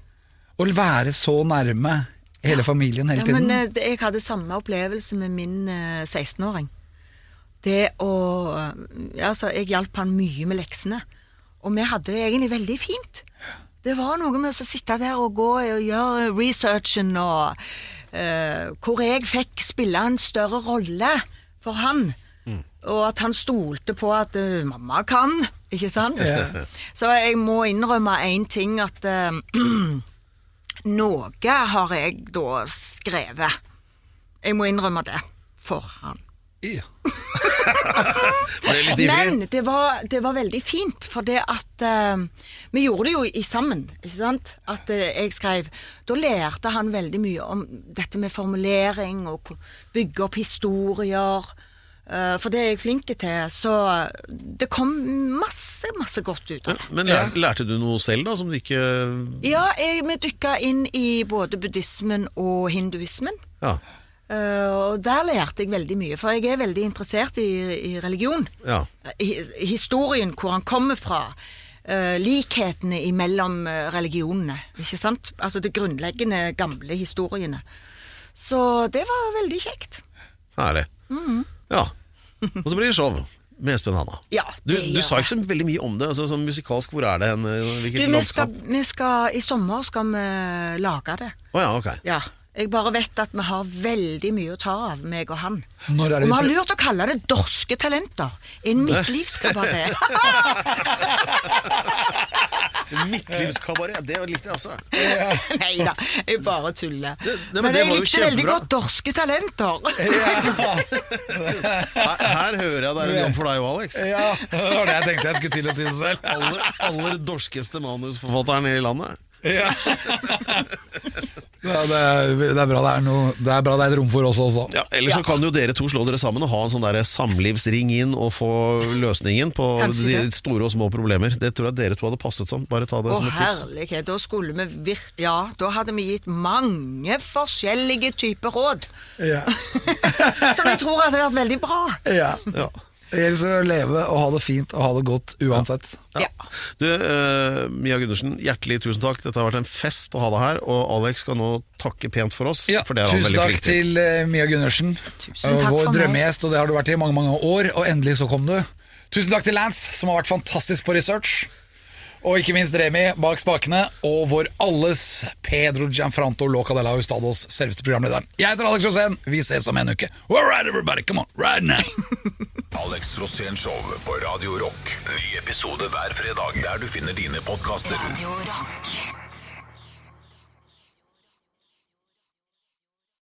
Å være så nærme hele familien hele
ja
tiden.
men eh, det- jeg hadde samme opplevelse med min eh, 16-åring. Det å eh, Altså, jeg hjalp han mye med leksene. Og vi hadde det egentlig veldig fint. Det var noe med å sitte der og gå og gjøre researchen og eh, Hvor jeg fikk spille en større rolle for han. Og at han stolte på at eh, 'mamma kan', ikke sant? Så jeg må innrømme én ting, at eh, Noe har jeg da skrevet. Jeg må innrømme det for han.
Ja.
Ble litt ivrig.
Men det var, det var veldig fint, for det at eh, Vi gjorde det jo i sammen, ikke sant? At eh, jeg skrev Da lærte han veldig mye om dette med formulering og ko- bygge opp historier. eh, for det er jeg flink til, så det kom masse, masse godt ut av det.
Men lær, lærte du noe selv, da, som du ikke
Ja, jeg, vi dykka inn i både buddhismen og hinduismen.
Ja.
Eh, og der lærte jeg veldig mye, for jeg er veldig interessert i, i religion.
Ja.
I, i historien, hvor han kommer fra. eh, likhetene imellom eh, religionene, ikke sant? Altså det grunnleggende, gamle historiene. Så det var veldig kjekt.
Herlig.
Mm.
Ja. Og så blir det show med Espen Hanna.
Ja,
Du,
det
du
gjør
sa ikke så veldig mye om det. Altså, sånn musikalsk, hvor er det hen? eh, Hvilket
Du, vi skal,
landskap? Å
vi skal, I sommer skal vi lage det.
ja, ok.
Ja. Jeg bare vet at vi har veldig mye å ta av, meg og han.
Når er det
og vi
vi
har
pre-
lurt å kalle det Dorske talenter. En midtlivskabaret.
Midtlivskabaret, det var litt det, altså.
Nei da, jeg bare tuller.
Det- det- men
men
det
jeg
var jo
likte veldig
kjempebra.
godt Dorske talenter.
Her, her hører jeg det er en jobb for deg òg, Alex.
ja, det var det jeg tenkte jeg skulle til å si det selv.
Aller, aller dorskeste manusforfatteren i landet.
Ja, det, er, det, er bra det, er noe, det er bra det er et rom for oss også.
Ja, Eller så kan jo dere to slå dere sammen og ha en sånn der samlivsring inn og få løsningen på
Kanskje
de
det.
store og små problemer. Det tror jeg dere to hadde passet som. Bare ta det
Å
som et tips.
herlighet, da skulle vi vir... Ja, da hadde vi gitt mange forskjellige typer råd.
Ja.
Som jeg tror hadde vært veldig bra.
Ja.
Ja.
Det gjelder å leve og ha det fint og ha det godt uansett.
Ja. Du, eh, Mia Gundersen, hjertelig tusen takk. Dette har vært en fest å ha deg her, og Alex skal nå takke pent for oss. for det er han
Tusen
veldig
takk
flink til.
til eh, Mia Gundersen,
Tusen
eh,
takk
vår
for meg.
drømmegjest, og det har du vært i mange mange år. Og endelig så kom du. Tusen takk til Lance, som har vært fantastisk på research. Og ikke minst Remi bak spakene, og vår alles Pedro Gianfranto Locadella Ustados, selveste programlederen. Jeg heter Alex Rosén, vi ses om en uke. All right, everybody, come on, right now!
Alex Rosén Show på Radio Rock. Ny episode hver fredag der du finner dine podkaster.
Radio Rock.